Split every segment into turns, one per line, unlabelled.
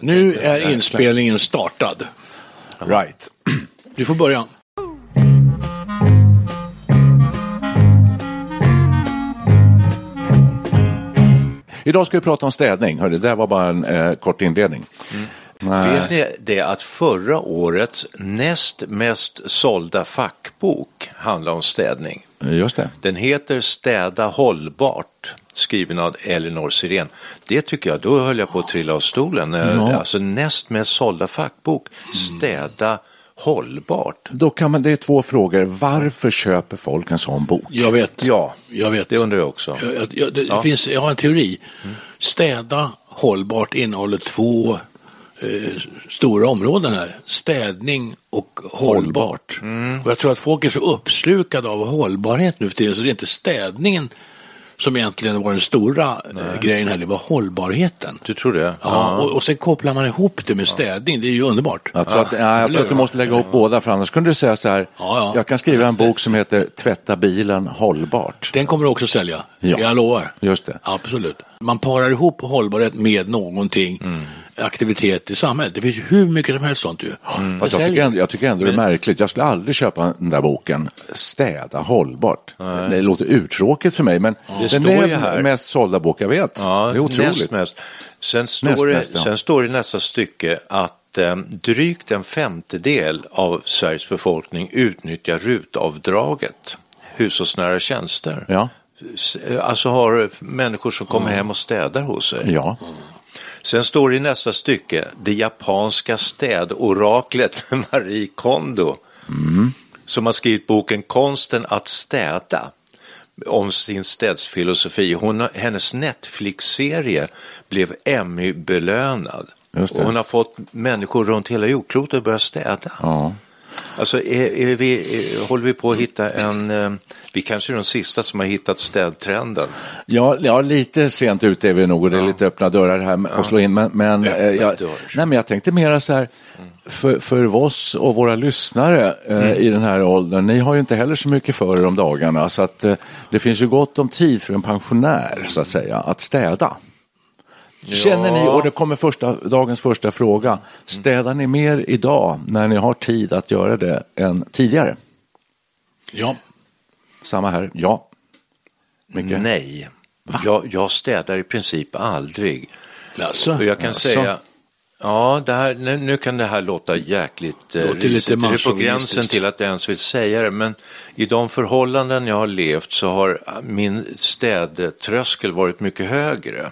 Nu är inspelningen startad.
Right.
Du får börja.
Idag ska vi prata om städning. Hörde, det där var bara en eh, kort inledning.
Mm.
Nej.
Vet ni det att förra årets näst mest sålda fackbok handlar om städning.
Just det.
Den heter Städa hållbart, skriven av Elinor Sirén. Det tycker jag, då höll jag på att trilla av stolen. Eh,
Ja.
Alltså näst mest sålda fackbok, Städa hållbart.
Då kan man, det är två frågor. Varför köper folk en sån bok?
Jag vet.
Ja,
jag vet.
det undrar jag också.
Jag, jag, jag, det Finns, jag har en teori. Städa hållbart innehåller två eh, stora områden här. Städning och hållbart. Och jag tror att folk är så uppslukade av hållbarhet nu för tiden så det är inte städningen som egentligen var den stora eh, grejen här, det var hållbarheten.
Du tror det?
Ja, och, och sen kopplar man ihop det med städning, det är ju underbart.
Jag tror,
Ah,
att, nej, jag tror att du måste lägga ihop båda, för annars kunde du säga så här.
Ja, ja.
Jag kan skriva en bok som heter Tvätta bilen hållbart.
Den kommer du också sälja,
Ja.
jag lovar.
Just
Mm.
det.
Absolut. Man parar ihop hållbarhet med någonting,
Mm.
aktivitet i samhället. Det finns ju hur mycket som helst sånt ju. Det
Mm. Fast jag,
säljer.
tycker ändå, jag tycker ändå det är märkligt. Jag skulle aldrig köpa den där boken Städa hållbart. Det låter urtråkigt för mig, men den
står
är
ju här.
den mest sålda bok jag vet. det är
Näst
otroligt.
mest. Sen, står
Näst
det,
mest, ja.
sen står det i nästa stycke att eh, drygt en femtedel av Sveriges befolkning utnyttjar rutavdraget, hushållsnära tjänster.
Ja.
S- eh, Alltså har människor som kommer hem och städar hos sig.
Ja.
Sen står det i nästa stycke, det japanska städoraklet Marie Kondo,
Mm.
som har skrivit boken Konsten att städa om sin städsfilosofi. Hon, hennes Netflix-serie blev Emmy-belönad.
Just det.
Och Hon har fått människor runt hela jordklotet att börja städa.
Ja.
Alltså, är, är vi, är, håller vi på att hitta en... Eh, vi kanske är de sista som har hittat städtrenden.
Ja, ja, lite sent ute är vi nog och det är lite öppna dörrar här med- att slå in. Men, men, eh,
Öppna
jag,
dörr.
nej, men jag tänkte mera så här, för, för oss och våra lyssnare eh,
Mm.
i den här åldern, ni har ju inte heller så mycket för er om dagarna, så att eh, det finns ju gott om tid för en pensionär, så att säga, att städa. Känner ni, och det kommer första, dagens första fråga, städar ni mer idag när ni har tid att göra det än tidigare?
Ja.
Samma här, ja. Micke?
Nej, jag, jag städar i princip aldrig.
Alltså,
Och jag kan
Jaså?
säga, ja, det här, nu, nu kan det här låta jäkligt eh,
Låter lite
risigt. Det är på gränsen
masochistiskt.
till att jag ens vill säga det, men i de förhållanden jag har levt så har ah, min städtröskel varit mycket högre.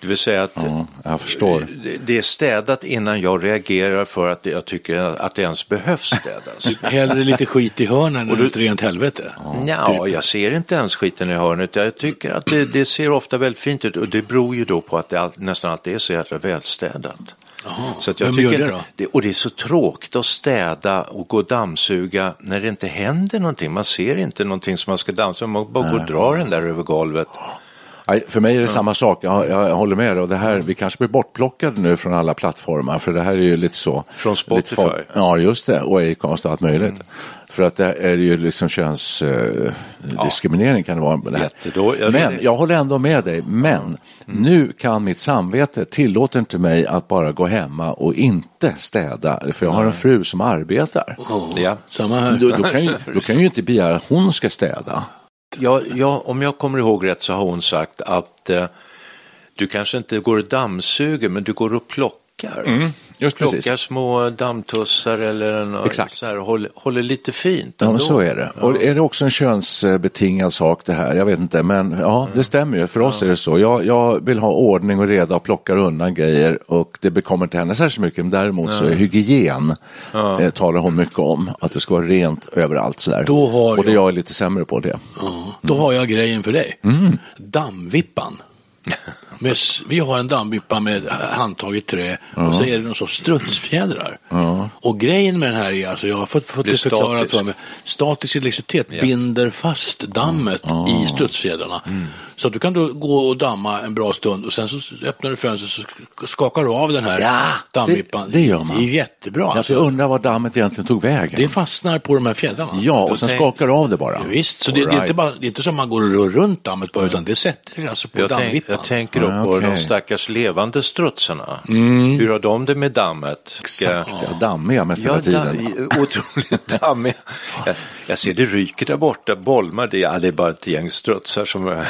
Det vill säga att
Ja, jag förstår.
det- det är städat innan jag reagerar för att jag tycker att det ens behövs städas.
hellre lite skit i hörnen än ett rent helvete. Typ.
Ja, jag ser inte ens skiten i hörnet. Jag tycker att det, det ser ofta väldigt fint ut och det beror ju då på att det all, nästan alltid är så jävla välstädat. Så att jag
Vem
tycker
gör det
inte-
då?
det, och det är så tråkigt att städa och gå och dammsuga när det inte händer någonting. Man ser inte någonting som man ska dammsuga, man bara går och drar den där över golvet.
Nej, för mig är det samma sak, jag, jag håller med dig. Och det här, vi kanske blir bortplockade nu från alla plattformar, för det här är ju lite så.
Från
lite
Spotify.
far- ja, just det, och Acast och allt möjligt. För att det är ju liksom könsdiskriminering kan det vara. med Det Mm. här.
Jättedå- jag-
men jag håller ändå med dig, men nu kan mitt samvete tillåter inte mig att bara gå hemma och inte städa, för jag har en fru som arbetar.
Ja.
Samma här.
Då, då, kan ju, då kan jag ju inte begära att hon ska städa.
Jag, jag, om jag kommer ihåg rätt så har hon sagt att eh, Du kanske inte går och dammsuger, men du går och plockar.
Mm.
just
plockar
precis.
små dammtussar eller en,
Exakt.
Så här, håller, håller lite fint.
Ja, men
ändå.
så är det. Och är det också en könsbetingad sak det här? Jag vet inte, men
Mm.
ja, det stämmer ju. För oss är det så. Jag, jag vill ha ordning och reda och plockar undan grejer och det bekommer inte henne särskilt mycket. Men däremot så är hygien eh, talar hon mycket om. Att det ska vara rent överallt sådär.
Då har
och det
jag-
jag är lite sämre på det.
Ja, då har jag grejen för dig.
Mm.
Dammvippan. Med, s- vi har en dammvippa med handtag i trä och så är det någon sorts strutsfjädrar. Och grejen med den här är, alltså jag har fått, fått
Det är
det förklarat
statisk.
för mig, statisk elektricitet binder fast dammet i strutsfjädrarna.
Mm.
Så att du kan då gå och damma en bra stund och sen så öppnar du fönstret så sk- skakar du av den här dammvippan.
det- det gör man.
Det är jättebra.
Alltså, jag
Alltså,
undrar var dammet egentligen tog vägen.
det fastnar på de här fjädrarna.
Ja, och sen
tänk-
skakar du av det bara.
Ja, Visst, så det, det, är inte
Alright.
bara, det är inte som man går och rör runt dammet bara, utan det sätter sig alltså på
Jag, tänk,
dammvippan.
jag tänker då
Ja,
på
okej. Mm.
de stackars levande strutsarna. Hur har de det med dammet? Ska-
Exakt, ja. dammiga mest hela
Ja,
tiden.
damm- otroligt dammiga. Jag, jag ser det ryker där borta, bolmar, det, ja, det är bara ett gäng strutsar som...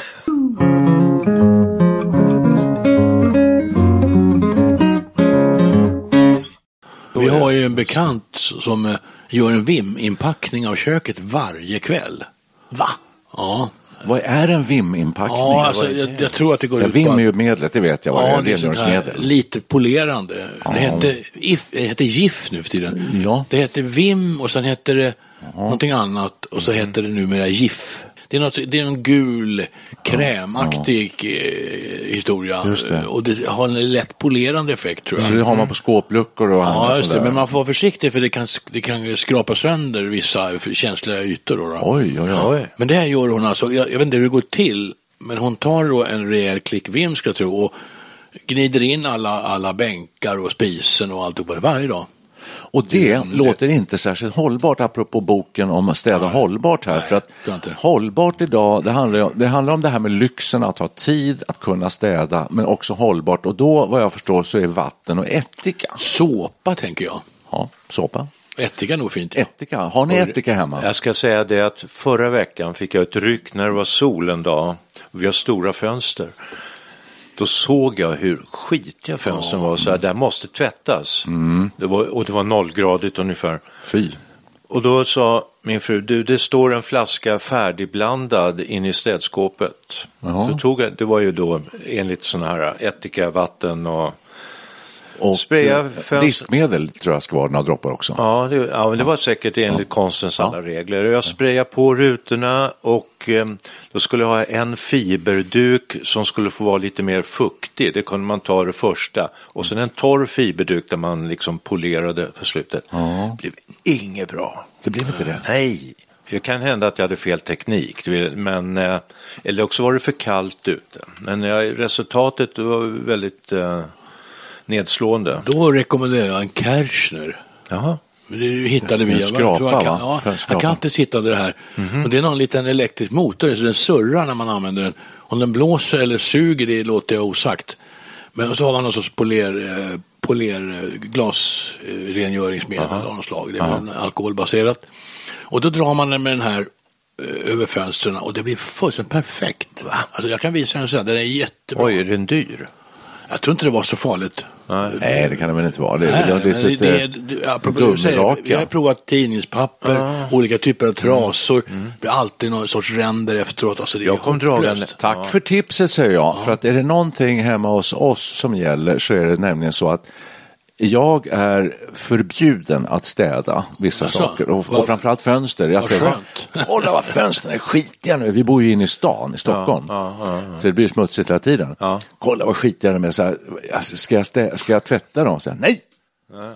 Vi har ju en bekant som eh, gör en VIM-inpackning av köket varje kväll. Va? Ja,
Vad är en VIM-inpackning?
ja alltså, jag, jag tror att det går
Ja,
ut på
VIM är
att-
ju medlet, det vet jag vad det
Ja,
är,
det är sånt här
rengöringsmedel.
lite polerande.
Ja.
Det hette, if, det hette GIF nu för tiden.
Ja.
Det hette VIM och sen hette det någonting annat och
Mm.
så hette det numera GIF. Det är, något, det är någon gul krämaktig eh, historia
Just det.
och det har en lätt polerande effekt tror
Så
jag.
det har man på skåpluckor och
Ja,
annat
just det.
sådär.
Men man får vara försiktig för det kan, det kan skrapa sönder vissa känsliga ytor. Då, då.
Oj, oj, oj.
Men det här gör hon alltså, jag, jag vet inte hur det går till, men hon tar då en rejäl klick vim ska jag tro och gnider in alla, alla bänkar och spisen och alltihopa det varje dag.
Och det låter inte särskilt hållbart, apropå boken om att städa hållbart här. för att
tror jag inte.
hållbart idag, det handlar, ju om, det handlar om det här med lyxen att ha tid att kunna städa, men också hållbart. Och då, vad jag förstår, så är vatten och ättika.
Såpa tänker jag.
Ja, såpa.
Ättika är nog fint.
Ättika, har ni ättika hemma?
Jag ska säga det att förra veckan fick jag ett ryck när det var sol en dag. Vi har stora fönster. Då såg jag hur skitiga fönstren var, så här, det här måste tvättas.
Mm.
Det var, och det var nollgradigt ungefär.
Fy.
Och då sa min fru, du det står en flaska färdigblandad in i städskåpet.
Jaha.
Då tog jag, det var ju då enligt sådana här ättika, vatten och
Och
Spraya
eh,
fönster-
diskmedel tror jag ska vara några droppar också.
Ja, det, ja, men det var säkert enligt konstens alla regler. Jag sprayade på rutorna och eh, då skulle jag ha en fiberduk som skulle få vara lite mer fuktig. Det kunde man ta det första. Och sen en torr fiberduk där man liksom polerade på slutet. Det blev inget bra.
Det blev inte det.
Nej, det kan hända att jag hade fel teknik. du vet, Men, eh, eller också var det för kallt ute. Men jag, resultatet var väldigt eh, nedslående.
Då rekommenderar jag en Kärchner.
Jaha.
Men Det hittade vi.
En
Jag tror
skrapa,
att Ka-
va?
Ja,
För en skrapa. Mhm.
Atlantis hittade det här. Och det är någon liten elektrisk motor, så den surrar när man använder den. Om den blåser eller suger, det låter jag osagt. Men så har man någon sorts poler, eh, poler eh, glasrengöringsmedel av något slag. Det är väl alkoholbaserat. Och då drar man den med den här eh, över fönstren och det blir fullständigt perfekt. Alltså jag kan visa den sen, den är jättebra.
Oj, är den dyr?
Jag tror inte det var så farligt.
Nej, det kan det väl inte vara. Det
Nej,
är väl
men
ett litet
det,
eh,
det, det, apropå det du säger, jag har
gummiraka.
provat tidningspapper,
Ah.
olika typer av trasor, det blir alltid någon sorts ränder efteråt. Alltså det är
Mm. Jag kom
hopplöst.
dragande.
Tack för tipset säger jag. För att är det någonting hemma hos oss som gäller så är det nämligen så att jag är förbjuden att städa vissa
Jaså?
saker och,
Vad-
och framförallt fönster. Jag säger så här,
skönt.
kolla vad fönstren är skitiga nu. Vi bor ju inne i stan i Stockholm. Så det blir smutsigt hela tiden. Kolla vad skitiga de är. Så här, alltså, ska, jag stä- ska jag tvätta dem? Så här, Nej!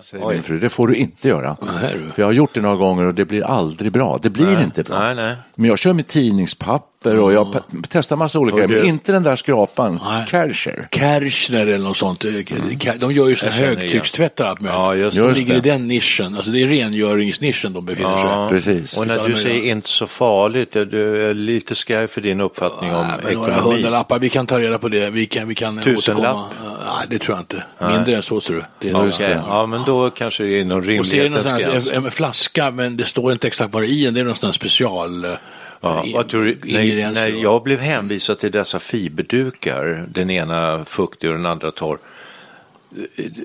Säger min fru, det får du inte göra.
Nej, du.
För jag har gjort det några gånger och det blir aldrig bra. Det blir inte bra.
Nej, nej.
Men jag kör med tidningspapper och jag pe- testar massa olika grejer. Men
du-
inte den där skrapan,
Nej.
Kärcher.
Kärchner eller något sånt. De gör ju sådana
Mm. Jag känner
högtryckstvättar allt möjligt.
Ja, just
de
det.
ligger i den nischen. Alltså det är rengöringsnischen de befinner sig i.
Precis.
Och när
Alla
du
möjliga.
säger inte så farligt, är du är lite skraj för din uppfattning om
Nej, men några
ekonomi.
hundralappar, vi kan ta reda på det. Vi kan, vi kan
Tusenlapp?
återkomma. Nej, det tror jag inte. Mindre än så tror du. Det är
Ja,
nog-
okej. ja, men då kanske det är inom
Och så är det någon
rimlighetens
sån här,
gräns.
en, en flaska, men det står inte exakt vad det är i den. Det är någon sån här special... eh,
Ja,
i-
vad tror du, när,
ingredienser
när
och-
jag blev hänvisad till dessa fiberdukar, den ena fuktig och den andra torr,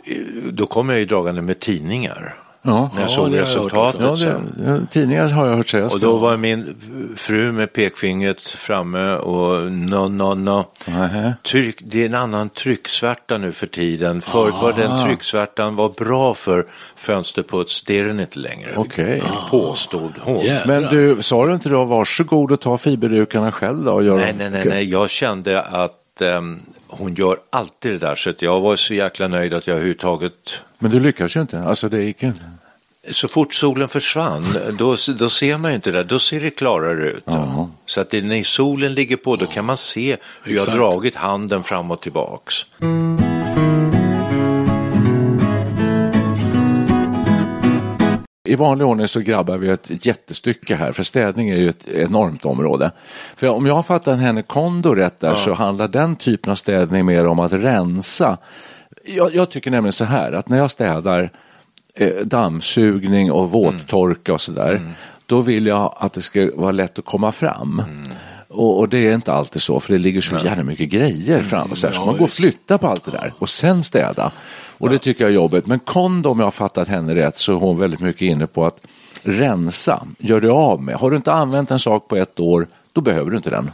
eh, då kom jag ju dragande med tidningar.
Ja.
När jag
Ja,
såg
det har jag hört
resultatet
också.
Ja, det,
sen.
ja, tidningar har jag hört sägas.
Och då var min fru med pekfingret framme och no, no, no.
Nähä.
Tryck, det är en annan trycksvärta nu för tiden. Förut var den trycksvärtan var bra för fönsterputs, det är den inte längre.
Okej.
Påstod hon.
Yeah.
Men du, sa du inte då varsågod och ta fiberdukarna själv då? Och gör
Nej,
dem-
nej, nej, nej, jag kände att ehm, hon gör alltid det där, så att jag var så jäkla nöjd att jag överhuvudtaget
Men du lyckas ju inte, alltså det gick ju inte.
så fort solen försvann, då, då ser man ju inte det, då ser det klarare ut. Så att det, när solen ligger på, då kan man se hur jag har
Exakt.
dragit handen fram och tillbaks.
I vanlig ordning så grabbar vi ett jättestycke här, för städning är ju ett enormt område. För om jag har fattat henne Kondo rätt där så handlar den typen av städning mer om att rensa. Jag, jag tycker nämligen så här, att när jag städar eh, dammsugning och våttorka och sådär,
Mm.
då vill jag att det ska vara lätt att komma fram.
Mm.
Och, och det är inte alltid så, för det ligger så jävla mycket grejer fram och så, här, så
ja,
man går och
visst.
flytta på allt det där och sen städa. Och det tycker jag är jobbigt. Men Kondo, om jag har fattat henne rätt, så är hon väldigt mycket inne på att rensa, gör dig av med. Har du inte använt en sak på ett år, då behöver du inte den.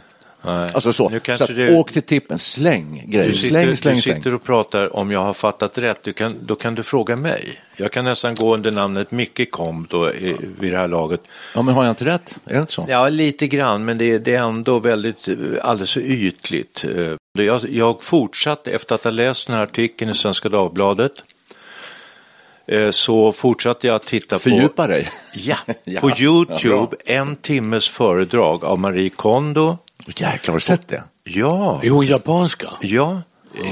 Alltså så,
Nu
så
kanske
att,
du-
åk till tippen, släng grejer,
Du
släng,
sitter,
släng,
du
släng.
sitter och pratar, om jag har fattat rätt, du kan, då kan du fråga mig. Jag kan nästan gå under namnet Micke Komb då, i, vid det här laget.
Ja, men har jag inte rätt? Är det inte så?
Ja, lite grann, men det, det är ändå väldigt, eh, alldeles för ytligt. eh. Det- Jag, jag fortsatte, efter att ha läst den här artikeln i Svenska Dagbladet, eh, så fortsatte jag att titta på...
Fördjupa dig.
Ja,
Ja,
på
ja,
YouTube, en timmes föredrag av Marie Kondo.
Jäklar, har du sett det?
Ja,
Är hon japanska?
ja.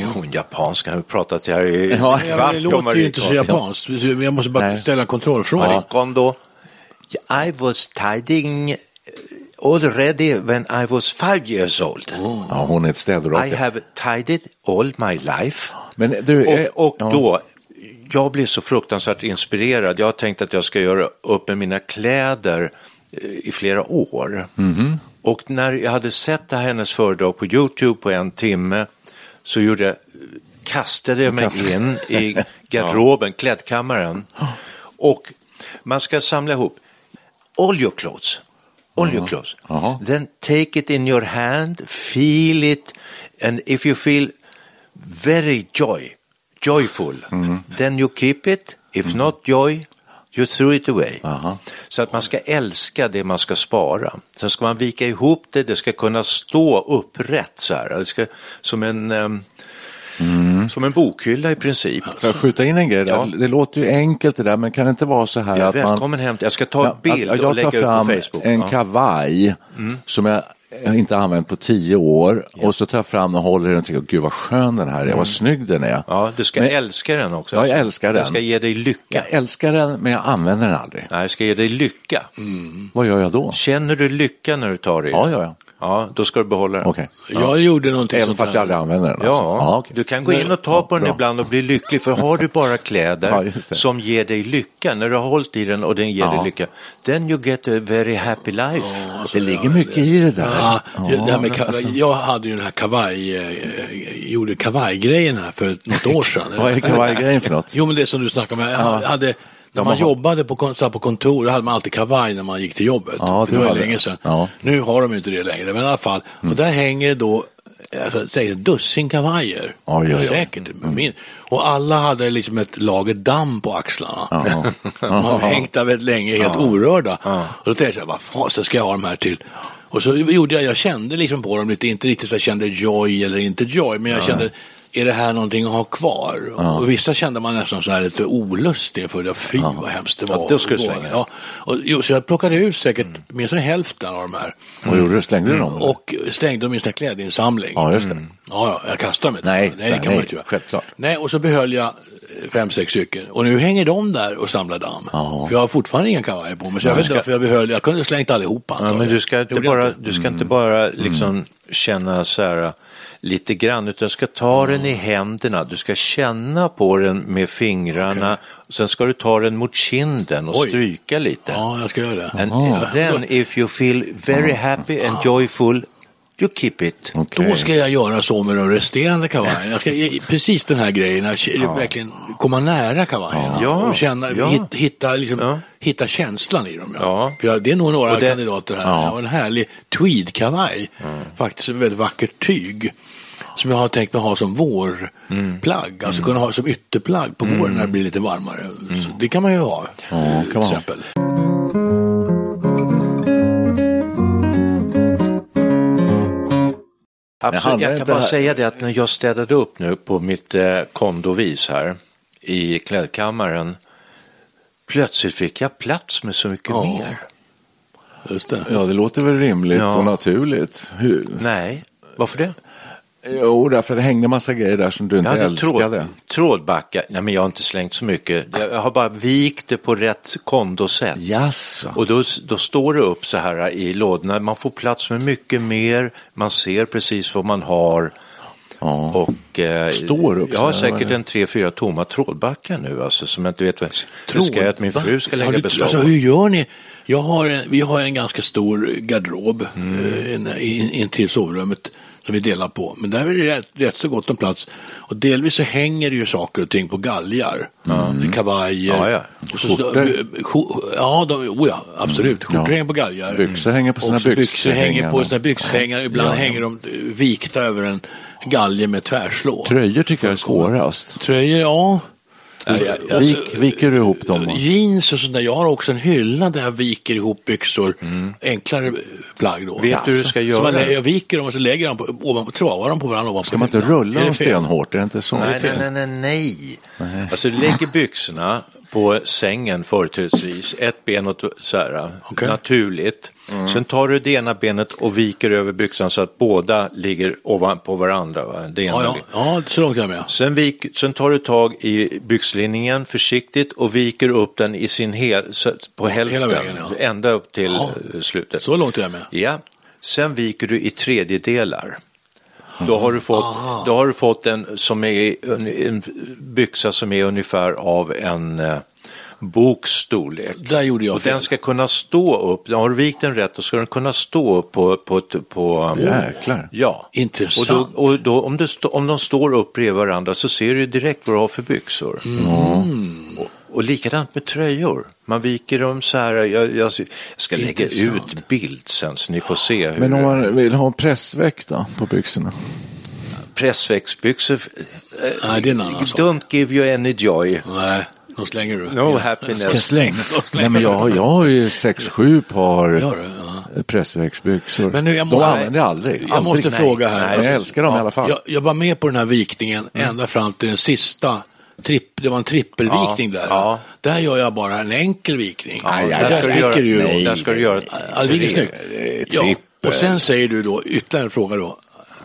Är hon japansk? Har vi pratat här i en
Ja,
Ja, men det
kvart om
låter ju
Marie
inte så
Kondo.
japanskt. Jag måste bara
Nej.
ställa en kontrollfråga.
Marie Kondo. I was tidying already when I was five years old.
Ja, hon är ett
I
städrock.
have tidied all my life.
Men du, eh,
Och, och
ja.
då, jag blev så fruktansvärt inspirerad. Jag har tänkt att jag ska göra upp med mina kläder eh, i flera år.
Mhm.
Och när jag hade sett det här hennes föredrag på YouTube på en timme så gjorde jag, kastade jag mig
kastade-
in i garderoben, klädkammaren. Och man ska samla ihop all your clothes. All your clothes.
Jaha.
Then take it in your hand, feel it, and if you feel very joy, joyful, then you keep it. If
Mm.
not joy, you throw it away. Så att man ska älska det man ska spara. Sen ska man vika ihop det, det ska kunna stå upprätt så här. Det ska, som, en, ehm,
Mm.
som en bokhylla i princip.
Får jag skjuta in en grej? där?
Ja.
Det låter ju enkelt det där, men kan det inte vara så här
Ja,
att man...
välkommen hem. Jag ska ta en
Ja,
bild
att- att
och lägga ut på Facebook.
Jag tar
Ja. Mm.
fram en kavaj som jag eh, inte har använt på tio år och så tar jag fram den och håller den och tänker, gud vad skön den här är, vad snygg den är.
Mm. Ja, du ska
Men-
älska den också.
Ja, jag älskar den.
Den ska ge dig lycka.
Jag älskar den, men jag använder den aldrig.
Nej, jag ska ge dig lycka.
Vad gör jag då?
Känner du lycka när du tar i den?
Mm. Ja, ja, ja.
Ja, då ska du behålla den.
Okej.
Jag gjorde någonting
Även fast jag aldrig använder den?
Typ Ja,
alltså. okej.
du kan gå in och ta på den
bra.
ibland och bli lycklig. För har du bara
Ja,
kläder
just det.
som ger dig lycka, när du har hållit i den och den ger
Ja. alltså,
dig lycka, then you get a very happy life.
Det ligger mycket i det där.
Ja, det här med kavaj,
alltså.
Jag hade ju den här kavaj, eh, eh, gjorde kavajgrejen här för något år sedan.
Vad är kavajgrejen för något?
Jo, men det som du snackade om. Jag hade, när man
man har-
jobbade på, kon- satt på kontor, då hade man alltid kavaj när man gick till jobbet.
Ja,
det
du
var ju
hade-
länge sedan.
ja. Mm.
Nu har de ju inte det längre, men i alla fall. Och där hänger då, alltså, säg ett dussin kavajer.
Oj, oj, oj.
Säkert,
Mm.
min. Och alla hade liksom ett lager damm på axlarna.
Ja.
De har hängt där väldigt länge, helt orörda. Och då tänkte jag, så här, vad fasen ska jag ha de här till? Och så gjorde jag, jag kände liksom på dem lite, inte riktigt så jag kände joy eller inte joy, men jag kände, är det här någonting att ha kvar? Och vissa kände man nästan så här lite olust inför, det. fy vad hemskt det var.
då ska du Mm.
Och-
slänga.
Ja, och, jo, så jag plockade ut säkert åtminstone hälften av de här
Vad gjorde du? Slängde du dem?
Mm.
Mm.
och slängde dem i en klädinsamling. Mm.
Ja, just det.
Ja, ja, jag kastar mig inte.
Nej,
nej, det kan
nej,
man inte göra.
självklart.
Nej, och så behöll jag eh, fem, sex stycken. Och nu hänger de där och samlar damm.
Ja.
För jag har fortfarande inga kavajer på mig. Så jag vet inte varför jag behöll. Jag kunde slängt allihopa.
Ja,
antar
men
jag.
du ska inte
Mm.
Gjorde jag
bara,
inte.
du ska inte bara liksom känna så här, lite grann, utan du ska ta den i händerna, du ska känna på den med fingrarna, sen ska du ta den mot kinden och
Oj.
stryka lite.
Ja, jag ska göra det.
And then if you feel very happy and joyful, you keep it.
Okej.
Då ska jag göra så med de resterande kavajerna. Jag ska, i- precis den här grejen, att verkligen komma nära kavajerna.
Ja.
Och känna,
Ja.
hit, hitta, liksom,
Ja.
hitta känslan i dem. Ja.
Ja.
För jag- det är nog några
Och det- Mm.
kandidater här. Jag har en härlig tweedkavaj. Faktiskt en väldigt vackert tyg. Som jag har tänkt mig ha som vårplagg.
Mm.
Alltså kunna ha som ytterplagg på våren när det blir lite varmare. Så
Mm.
det kan man ju ha.
kan man ha.
exempel.
Absolut,
handlar
jag kan
inte
bara
här-
säga det att när jag städade upp nu på mitt eh, kondovis här i klädkammaren, plötsligt fick jag plats med så mycket
Ja.
mer.
Just det.
Ja, det låter väl rimligt
Ja.
och naturligt. Hur?
Nej, varför det?
Jo, därför det hängde massa grejer där som du inte
Jag hade
älskade.
tråd, trådbacka, nej men jag har inte slängt så mycket. Jag jag har bara vikt det på rätt kondosätt.
Jaså?
Och då, då står det upp så här i lådorna, man får plats med mycket mer, man ser precis vad man har.
Ja.
Och, eh,
Står upp
jag
så
har
här,
säkert
vad är det?
en tre, fyra tomma trådbackar nu alltså, som jag inte vet vad jag ska jag att min
Va?
fru ska
Har
lägga
du-
beslag
Alltså,
på.
hur gör ni? Jag har en, vi har en ganska stor garderob eh, in, in, in till sovrummet som vi delar på. Men där är det rätt, rätt så gott om plats. Och delvis så hänger det ju saker och ting på galgar. Det är Kavajer.
Mm. Ja, ja.
Och så,
Skjortor.
skjor- ja, de, oh ja,
Mm.
absolut. Skjortor
Ja.
hänger på galgar.
Byxor hänger på sina
Och så byxor hänger på
byxhängare.
sina byxhängare. Ibland hänger de eh, vikta över en galge med tvärslå.
Tröjor tycker jag är svårast.
Tröjor, ja. Alltså,
Vik, viker du ihop dem? va?
Jeans och sånt där. Jag har också en hylla där jag viker ihop byxor.
Mm.
Enklare plagg då.
Vet du hur du ska
Så man,
göra?
jag viker dem och så lägger jag dem på, ovanpå, travar dem på varandra ovanpå.
Ska man inte
hyllan.
rulla
Är det
dem
fel?
stenhårt? Är det inte så?
Nej, nej, nej, nej, nej. Alltså du lägger byxorna på sängen företrädesvis, ett ben åt så här,
Okej. Mm.
naturligt. Sen tar du det ena benet och viker över byxan så att båda ligger ovanpå varandra. Va? Det ena
Ja, ja.
ligger-
ja, så långt är jag med.
Sen, vik, sen tar du tag i byxlinningen försiktigt och viker upp den i sin hel, så att- på hälften,
vägen, ja.
ända upp till
Ja.
eh, slutet.
Så långt är jag med.
Ja, sen viker du i tredjedelar. Då har, du fått, då har du fått en, som är, en, en byxa som är ungefär av en eh, boks storlek.
Där gjorde jag
och
fel.
den ska kunna stå upp, har du vikt den rätt då ska den kunna stå upp på... på, ett- på
Jäklar.
Ja.
Intressant.
Och, då, och då, om, du stå, om de står upp bredvid varandra så ser du direkt vad du har för byxor. Mm. Och, och likadant med tröjor. Man viker dem så här. Jag, jag ska lägga
Intressant.
ut bild sen så ni får se hur...
Men om man vill ha pressväck då, på byxorna?
Pressväxtbyxor...
Nej, det är en annan sak.
Don't give you any joy.
Nej, de slänger du.
No happiness.
Ska slänga. De slänger
Nej, men jag, har- jag har ju sex, sju par
Ja, du, ja.
pressväxtbyxor.
Men nu, jag
De
måste-
använder jag aldrig.
Jag
aldrig.
måste
Nej.
fråga här.
Nej, jag älskar dem i alla fall.
Jag, jag var med på den här vikningen
Mm.
ända fram till den sista. Tripp, det var en trippelvikning
Ja,
där.
ja.
Där gör jag bara en enkel vikning.
Ja,
där
där, ska du göra,
sticker ju.
nej, där ska du göra ett
Ja, det är snyggt. Ja.
trippel.
Och sen säger du då, ytterligare en fråga då.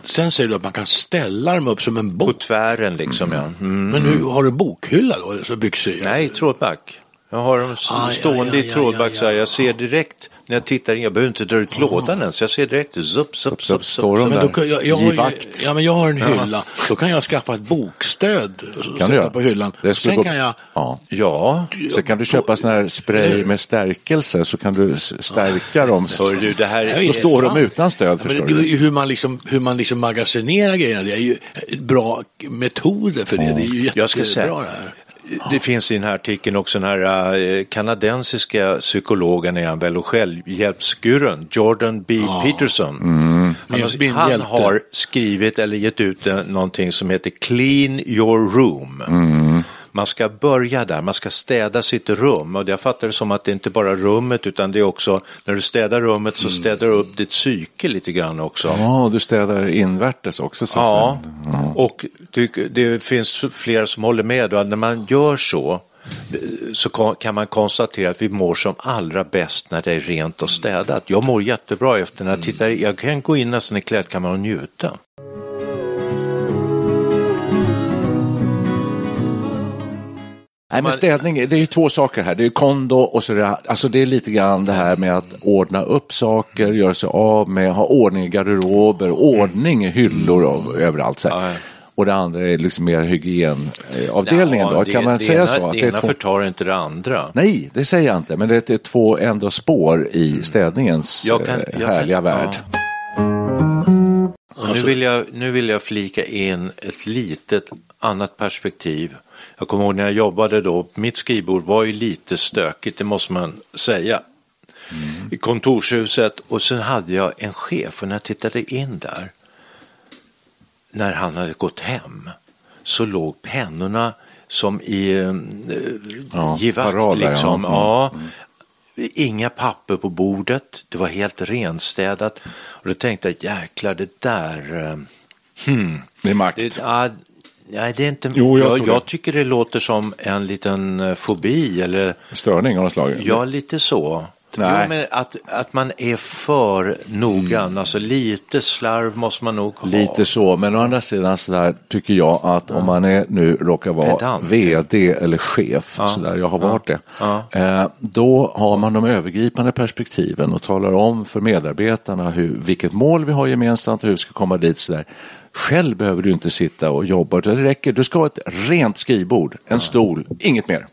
Sen säger du att man kan ställa dem upp som en
På
bok.
tvären liksom, ja. Mm.
Men hur, har du bokhylla då? eller Så byxor? i?
Nej, trådback. Jag har dem s-
Aj,
stående
aj, aj,
i trådback
aj,
så här.
aj, aj.
Jag ser direkt när jag tittar in. Jag behöver inte dra ut lådan ens. Jag ser direkt. Zup, zup, zup,
står de
zup.
Men
där.
då, kan- jag, jag, har ju,
Givakt.
ja, men jag har en hylla. Då kan jag skaffa ett bokstöd. och sätta
Kan du göra?
på hyllan.
Det skulle
Sen
gå-
kan jag
Ja.
Ja,
Så kan du köpa sån här spray med stärkelse så kan du s- stärka dem.
hör du, det här
är
Då
är...
intressant.
står de utan stöd
Men
förstår
det är
du.
ju hur man, liksom, hur man liksom magasinerar grejerna, det är ju bra metoder för det. Det är ju jättebra
Jag ska säga-
det här.
Det finns i den här artikeln också den här eh, kanadensiska psykologen är han väl och självhjälpsgurun Jordan B. Peterson. Mm. Han,
Min- min
har, han
hjälte.
har skrivit eller gett ut eh, någonting som heter Clean your room. Man ska börja där, man ska städa sitt rum. Och jag fattar det som att det inte bara är rummet utan det är också, när du städar rummet så städar du upp ditt psyke lite grann också.
Ja, du städar invärtes också. Så
Ja,
sen.
och det, det finns flera som håller med. Och när man gör så eh, så ka- kan man konstatera att vi mår som allra bäst när det är rent och städat. Jag mår jättebra efter
Mm.
när jag tittar i- Jag kan gå in nästan i klädkammaren och njuta.
Nej, Nej, men städning, det är ju två saker här. Det är ju kondo och så är det, alltså det är lite grann det här med att ordna upp saker, göra sig av med, ha ordning i garderober,
Mm.
ordning i hyllor och överallt. Så här. Och det andra är liksom mer hygienavdelningen.
Ja,
då.
det-
Kan man
det
säga
ena,
så? Att
Det,
det är
ena
två...
förtar inte det andra.
Nej, det säger jag inte. Men det är två ändå spår i städningens
Mm. Jag kan-
eh,
jag kan-
härliga
ja.
värld.
Nu, vill jag, nu vill jag flika in ett litet annat perspektiv. Jag kommer ihåg när jag jobbade då, mitt skrivbord var ju lite stökigt, det måste man säga. I kontorshuset och sen hade jag en chef och när jag tittade in där, när han hade gått hem, så låg pennorna som i eh,
Ja,
givakt
parader, ja.
liksom.
Mm.
Ja, Inga papper på bordet, det var helt renstädat. Och då tänkte jag, jäklar det där, eh,
Det är makt.
det, ah, nej det är inte,
Jo, jag tror
jag,
det.
jag tycker det låter som en liten eh, fobi eller
Störning av något slag.
Ja, lite så.
Nej.
Jo, men att, att man är för noggrann, alltså lite slarv måste man nog ha.
Lite så, men å andra sidan så där, tycker jag att om man är, nu råkar vara
Pedant.
vd eller chef, så där, jag har varit
Ja.
det, eh, då har man de övergripande perspektiven och talar om för medarbetarna hur, vilket mål vi har gemensamt och hur vi ska komma dit. Så där. Själv behöver du inte sitta och jobba, utan det räcker, du ska ha ett rent skrivbord, en stol, inget mer.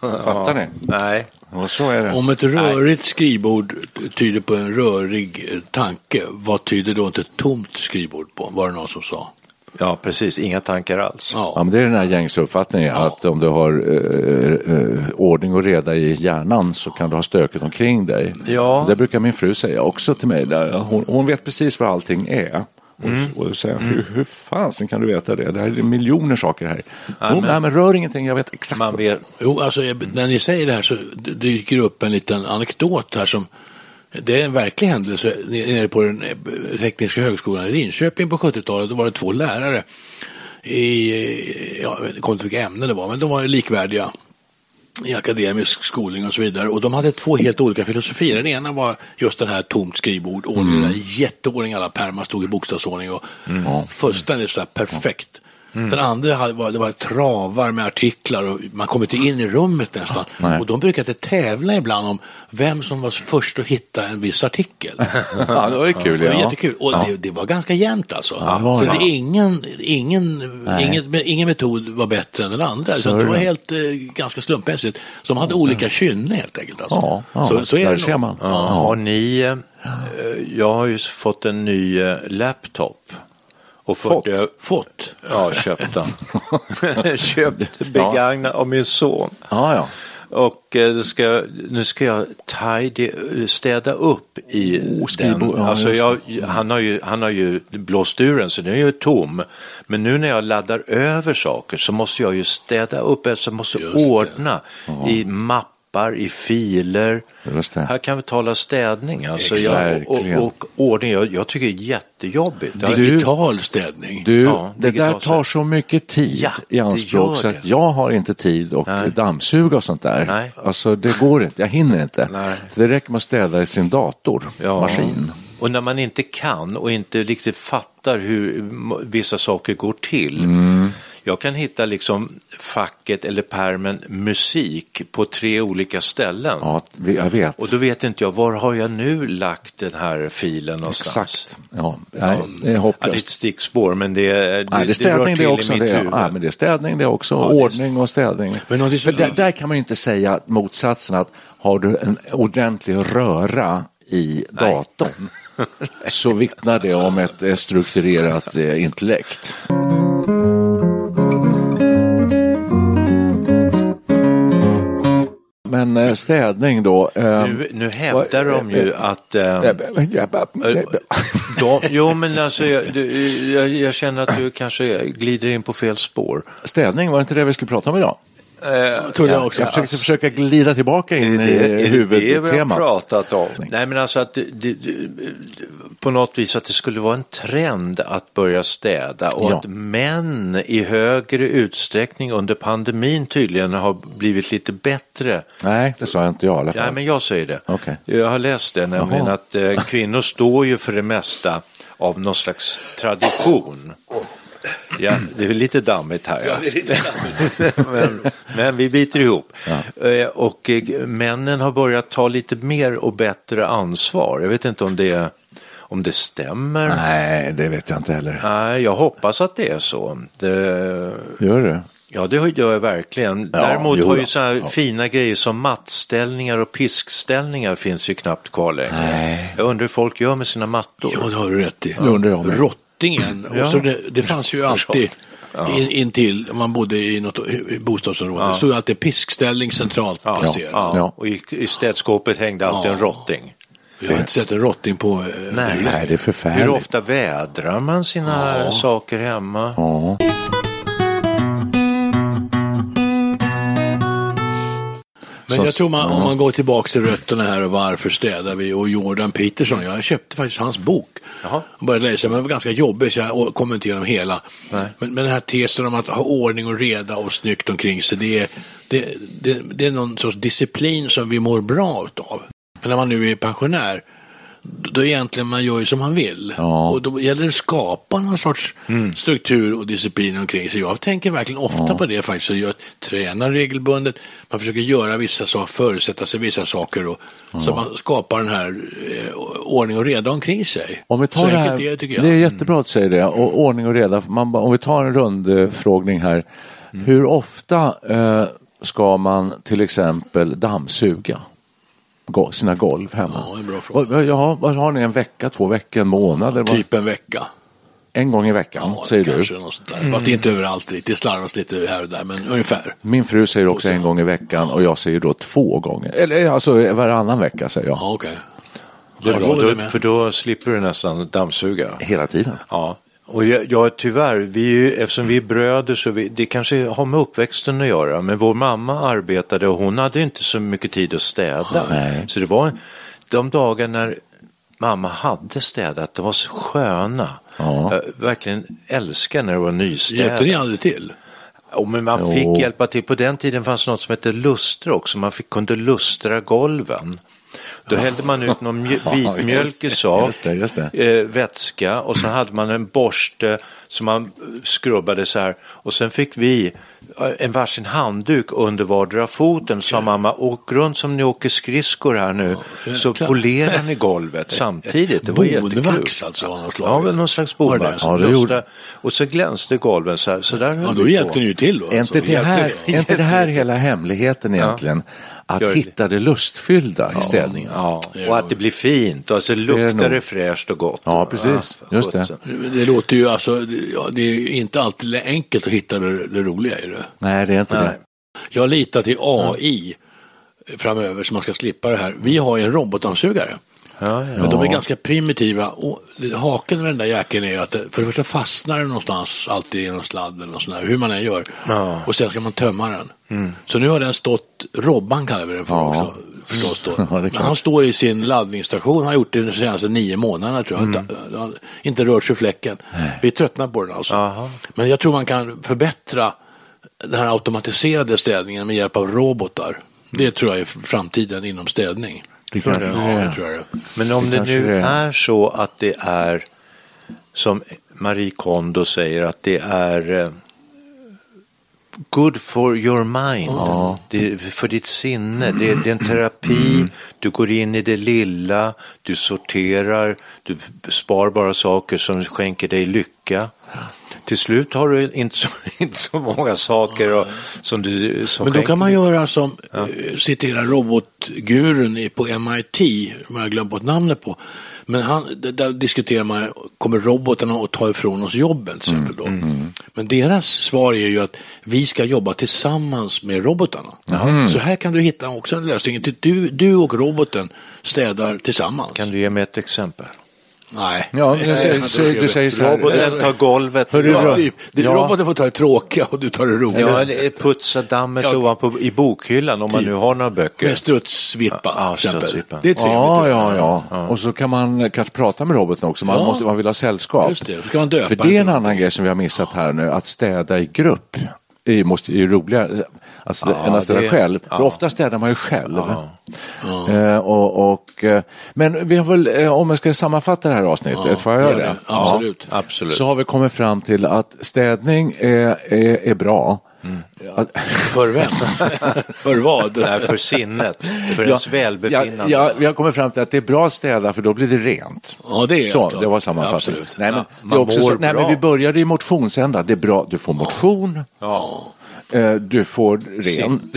Fattar ni?
Nej.
Och så är det.
Om ett rörigt skrivbord tyder på en rörig eh, tanke, vad tyder då inte ett tomt skrivbord på? Var det någon som sa?
Ja, precis. Inga tankar alls.
Ja,
Ja.
men det är den här gängse uppfattningen att om du har eh, eh, ordning och reda i hjärnan så kan du ha stöket omkring dig.
Ja.
Det brukar min fru säga också till mig. Där. Hon, hon vet precis vad allting är. Och,
Mm.
och då säger jag, hur, hur fasen kan du veta det? Det här är miljoner saker här. Hon, nej, men rör ingenting, jag vet exakt.
Man vet,
Jo, alltså jag- när ni säger det här så d- dyker det upp en liten anekdot här som det är en verklig händelse N- nere på den eh, tekniska högskolan i Linköping på 70-talet. Då var det två lärare i, eh, ja, jag vet- jag kommer inte ihåg vilka ämnen det var, men de var ju likvärdiga i akademisk skolning och så vidare. Och de hade två helt olika filosofier. Den ena var just den här tomt skrivbord, ordning, mm. jätteordning, alla pärmar stod i bokstavsordning och fullständigt så här perfekt. Den andra hade- var, det var travar med artiklar och man kom inte in i rummet nästan.
Nej.
Och de brukade tävla ibland om vem som var först att hitta en viss artikel.
ja, det var ju kul.
Det var
ja.
jättekul och det, det var ganska jämnt alltså.
det var
så
det.
det, ingen, ingen, inget, ingen metod var bättre än den andra. Så det var
Sorry.
helt eh, ganska slumpmässigt. Så de hade olika kynne helt enkelt. Alltså.
Ja, ja,
så, så är
där
det
ser
nog.
man.
Ja. Har ni, eh, jag har ju fått en ny eh, laptop. Och
Fått?
ö-
Fått.
Ja, köpt den. köpt begagnad av min son.
Ja, ja.
Och eh, det ska, nu ska jag tidy, städa upp i den.
Oh, skrivbord, ja,
alltså
just
jag, han, har ju, han har ju blåst ur den så den är ju tom. Men nu när jag laddar över saker så måste jag ju städa upp, alltså jag måste ordna i mappar, i filer.
Just det.
Här kan vi tala städning alltså jag, och,
Verkligen.
och, och ordning. Jag, jag tycker det är jättejobbigt. Jag,
Digital städning.
Du,
Ja,
det där
digitalt
tar
sett.
så mycket tid
Ja,
i
det
anspråk
gör
så
det.
att jag har inte tid och
Nej.
dammsuga och sånt där.
Nej.
Alltså det går inte, jag hinner inte.
Nej.
Så det räcker med att städa i sin dator, maskin.
Och när man inte kan och inte riktigt fattar hur m- vissa saker går till.
Mm.
Jag kan hitta liksom facket eller permen musik på tre olika ställen.
Ja, vi- jag vet.
Och då vet inte jag, var har jag nu lagt den här filen någonstans?
Exakt. Ja, nej, det är
Ja, det är ett
hopplöst.
stickspår men det, det,
Nej, det är
rör
städning
till
det också.
i
Det
mitt
är,
huvud.
nej, men det är städning det är också. ordning och städning.
Men någonting
För
som-
där, där kan man ju inte säga motsatsen att har du en ordentlig röra i datorn så vittnar det om ett eh, strukturerat eh, intellekt. Men eh, städning då. eh,
Nu, nu hävdar de ju att... eh,
eh,
de, jo men alltså jag, du- jag, jag känner att du kanske glider in på fel spår.
Städning, var det inte det vi skulle prata om idag?
trodde jag också.
Jag försökte försöka glida tillbaka in i
det vi har
eh, huvudtemat.
pratat om? Nej, men alltså att det, det, på något vis att det skulle vara en trend att börja städa och
Ja.
att män i högre utsträckning under pandemin tydligen har blivit lite bättre.
Nej, det sa jag inte jag i alla
Nej,
fall.
men jag säger det.
Okej.
Jag har läst det, nämligen
Jaha.
att eh, kvinnor står ju för det mesta av någon slags tradition. Ja, det är lite dammigt här.
Ja, det är lite
men, men vi biter ihop. Eh, Och eh, männen har börjat ta lite mer och bättre ansvar. Jag vet inte om det, om det stämmer.
Nej, det vet jag inte heller.
Nej, jag hoppas att det är så. Det,
Gör det?
ja, det gör jag verkligen. Däremot
jo
har ju
då.
så här
Ja.
fina grejer som mattställningar och piskställningar finns ju knappt kvar längre.
Nej.
Jag undrar hur folk gör med sina mattor.
Ja, det har du rätt i.
Det undrar jag med.
Rottingen, och så det, det fanns ju alltid in, intill, om man bodde i något hu- bostadsområde, det stod alltid piskställning centralt placerad.
Ja,
Ja.
och i, i städskåpet hängde alltid
Ja.
en rotting.
Jag har inte sett en rotting på... eh,
Nej.
Nej, det är
Hur
förfärligt.
ofta vädrar man sina
Ja.
saker hemma?
Ja.
Men
Så-
jag tror man, om man går tillbaka till rötterna här och varför städar vi och Jordan Peterson, jag köpte faktiskt hans bok
Jaha.
och började läsa, men den var ganska jobbig så jag å- kom inte igenom hela. Men, men den här tesen om att ha ordning och reda och snyggt omkring sig, det är, det, det, det är någon sorts disciplin som vi mår bra utav. Men när man nu är pensionär, då då egentligen man gör ju som man vill.
Ja. Mm.
Och då gäller det att skapa någon sorts struktur och disciplin omkring sig. Jag tänker verkligen ofta på det faktiskt. Så Jag tränar regelbundet, man försöker göra vissa saker, förutsätta sig vissa saker. Och, Så man skapar den här eh, ordning och reda omkring sig.
Om vi tar
så
det, här,
enkelt är det tycker jag. Mm.
det är jättebra att säga det, och ordning och reda. Man, ba- om vi tar en rundfrågning här.
Mm.
Hur ofta eh, ska man till exempel dammsuga go- sina golv hemma?
Ja, en bra fråga.
Vad- Ja, vad har ni en vecka, två veckor, en månad? Eller vad?
Typ en vecka.
En gång i veckan,
Ja,
säger
kanske
du. Mm.
Något sånt där. Fast inte överallt riktigt. Det slarvas lite här och där, men ungefär.
Min fru säger också en gång i veckan och jag säger då två gånger. Eller alltså varannan vecka säger jag.
Ja, okej.
Det
Ja,
är
jag håller
bra, då,
med.
för då slipper du nästan dammsuga.
Hela tiden.
Ja. Och jag, jag, tyvärr, vi är ju, eftersom vi är bröder så vi, det kanske har med uppväxten att göra. Men vår mamma arbetade och hon hade inte så mycket tid att städa.
Nej.
Så det var de dagar när mamma hade städat, det var så sköna.
Ja.
Jag verkligen älskar när det var nystädat.
Hjälpte ni aldrig till?
Jo, men man
Jo.
fick hjälpa till. På den tiden fanns något som hette lustre också. Man fick, kunde lustra golven. Då hällde man ut någon mjö- vitmjölk i sak,
Just det, just
Eh, vätska och så hade man en borste som man eh, skrubbade så här. Och sen fick vi eh, en varsin handduk under vardera foten. Sa mamma, åk runt som ni åker skridskor här nu så
jäklar.
polerar ni golvet samtidigt. Det var jättekul.
Bonvax alltså av något slag?
Ja, väl någon slags
Var det
bonvax.
det? Ja, det gjorde-
Lustra. Och så glänste golven så här. Så där
Ja,
höll
då
vi
hjälpte
på.
ni ju till då.
Är inte,
alltså.
det här, är inte det här hela hemligheten egentligen? Att
Gör det.
hitta det lustfyllda i städningen.
Ja,
Det är
och att det blir fint och alltså
är det
luktar
nog.
det fräscht och gott.
Ja, precis.
för
Just det.
sjutton.
Det låter ju alltså, det- ja, det är ju inte alltid enkelt att hitta det, det roliga i det.
Nej, det är inte det.
Jag litar till AI framöver så man ska slippa det här. Vi har ju en robotdammsugare.
Ja, ja.
Men de är ganska primitiva och haken med den där jäkeln är ju att det- för det första fastnar den någonstans, alltid i någon sladd eller något sånt där, hur man än gör.
Ja.
Och sen ska man tömma den. Så nu har den stått, Robban kallar vi den för
Mm. Ja.
också, förstås då.
Ja, det är
Men
klart.
han står i sin laddningsstation, han har gjort det de senaste nio månaderna tror jag.
Mm.
Inte, han, inte rört sig fläcken. Vi tröttnar på den alltså.
Jaha.
Men jag tror man kan förbättra den här automatiserade städningen med hjälp av robotar. Det tror jag är framtiden inom städning.
Det kanske
ja,
det är.
det tror jag det.
Men om
Det
det,
kanske
nu
det är.
är så att det är, som Marie Kondo säger, att det är eh, good for your mind, det är för ditt sinne, det är, det är en terapi,
Mm.
du går in i det lilla, du sorterar, du spar bara saker som skänker dig lycka. Till slut har du inte så, inte så många saker och, som du som
Men då
skänker
kan man
dig.
göra som, eh, citera robotgurun i- på MIT, som jag har glömt bort namnet på. Men han, d- där diskuterar man, kommer robotarna att ta ifrån oss jobben till
Mm,
exempel då? Men deras svar är ju att vi ska jobba tillsammans med robotarna. Mm.
Mm.
Så här kan du hitta också en lösning. Du, du och roboten städar tillsammans.
Kan du ge mig ett exempel?
Nej.
Ja, men jag säger, så, du säger så här.
Roboten tar golvet.
Hörru,
Ja.
Ja, typ. Det-
Ja.
Roboten får ta det tråkiga och du tar det roliga.
Ja, det är putsa dammet
Ja.
ovanpå i bokhyllan om
Typ.
man nu har några böcker.
Med strutsvippa.
Ja,
till exempel.
strutsvippa.
Det är trevligt.
Ja, ja, ja. Och så kan man eh, kanske prata med roboten också. Man,
Ja.
måste, man vill ha sällskap.
Just det, då ska man döpa
För det är
en
en annan grej som vi har missat här nu, att städa i grupp. är ju- måste ju roligare. att, stä,
Ja,
än att städa
det-
själv. För
ja.
ofta städar man ju själv. Eh, och, och, eh, men vi har väl, eh, om jag ska sammanfatta det här avsnittet, får jag
gör
göra
det.
det?
Absolut.
Absolut.
Så har vi kommit fram till att städning är, är, är bra.
Mm.
Att,
För vem? för vad?
Nej, för sinnet, för ens välbefinnande.
Ja, ja, vi har kommit fram till att det är bra att städa för då blir det rent.
Ja, det är
så,
helt klart.
det var sammanfattningen.
Absolut.
Nej, men,
Ja,
det
man
är också
mår
så, nej, men
bra.
vi började i motionsändan. Det är bra, du får motion,
Ja.
eh, du får ren,
Sin-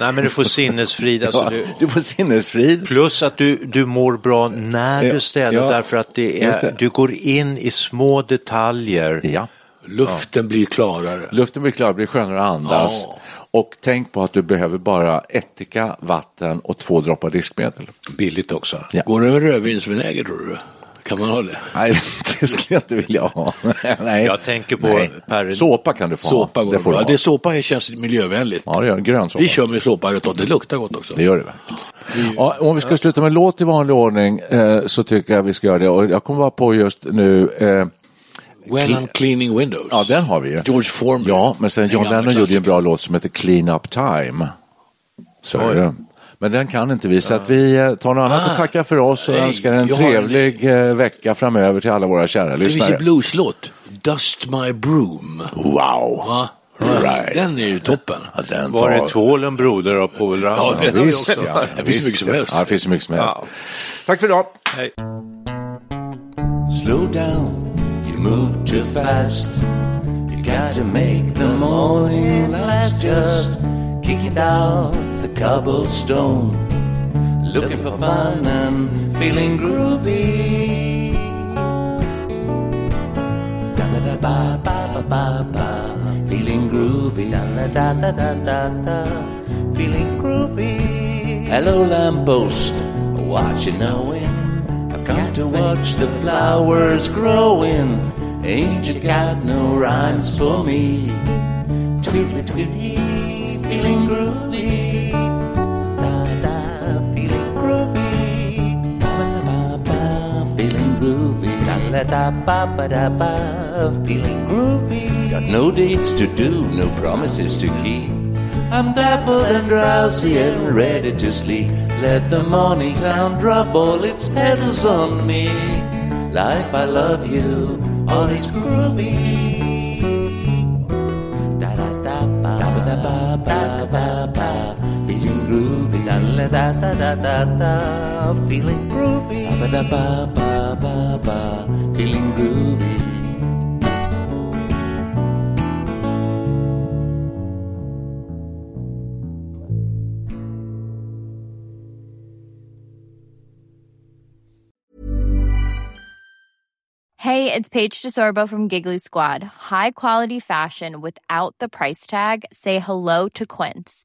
Nej, men du får sinnesfrid. Alltså,
ja,
du...
du får sinnesfrid.
Plus att du, du mår bra när
Ja,
du städar
ja.
därför att det är,
Just det.
du går in i små detaljer.
Ja.
Luften blir klarare.
Luften blir klar, blir skönare att andas.
Ja.
Och tänk på att du behöver bara ättika, vatten och två droppar diskmedel.
Billigt också.
Ja.
Går det med rödvinsvinäger tror du? Kan man ha det?
Nej, det skulle jag inte vilja ha. Nej.
Jag tänker på
Nej.
Per-
Såpa kan du få
Såpa
ha.
går
Det
det
får
bra.
du ha.
Det är såpa är- känns miljövänligt.
Ja, det gör en grön såpa.
Vi kör med såpa och det luktar gott också.
Det gör det väl? Ja, om vi ska sluta med låt i vanlig ordning eh, så tycker jag vi ska göra det. Och jag kommer bara på just nu, eh,
When I'm cleaning windows.
ja den har vi ju.
George Foreman.
Ja, men sen
En
John
gammal
Lennon gjorde ju en
klassiker.
bra låt som heter Clean Up Time. Så är
Oj.
det. Men den kan inte vi, så att vi eh, tar något annat och tackar för oss och
Ah. nej,
önskar en
jag har en-
trevlig eh, vecka framöver till alla våra kära
Det finns
lyssnare.
en blueslåt. Dust My Broom.
Wow!
Va?
Right.
Den är ju toppen.
Ja, den
Var
tar-
det tvålen broder och polaren?
Ja, det- har vi
Visst,
också.
ja.
Det finns hur mycket som
Visst,
helst.
Ja, det finns hur mycket som helst.
Ja.
Tack för idag!
Hej.
Slow down, you move too fast. You got to make the morning last. Just kicking down the cobblestone, looking for fun and feeling groovy. Da da da ba ba ba ba ba, feeling groovy. Da da da da da da da, feeling groovy. Hello lamppost, watching the wind. I've come to watch the flowers growing. Ain't you got no rhymes for me? Tweetly tweety, feeling groovy. Da da, feeling groovy. Ba ba ba ba, feeling groovy. Da da da ba ba da ba, feeling groovy. Got no dates to do, no promises to keep. I'm baffled and drowsy and ready to sleep. Let the morning clown drop all its petals on me. Life, I love you, all is groovy. Da da da ba da ba da ba da da ba feeling groovy da la da da da da da feeling groovy da ba da ba ba ba ba feeling groovy
Hey, it's Paige DeSorbo from Giggly Squad. High quality fashion without the price tag. Say hello to Quince.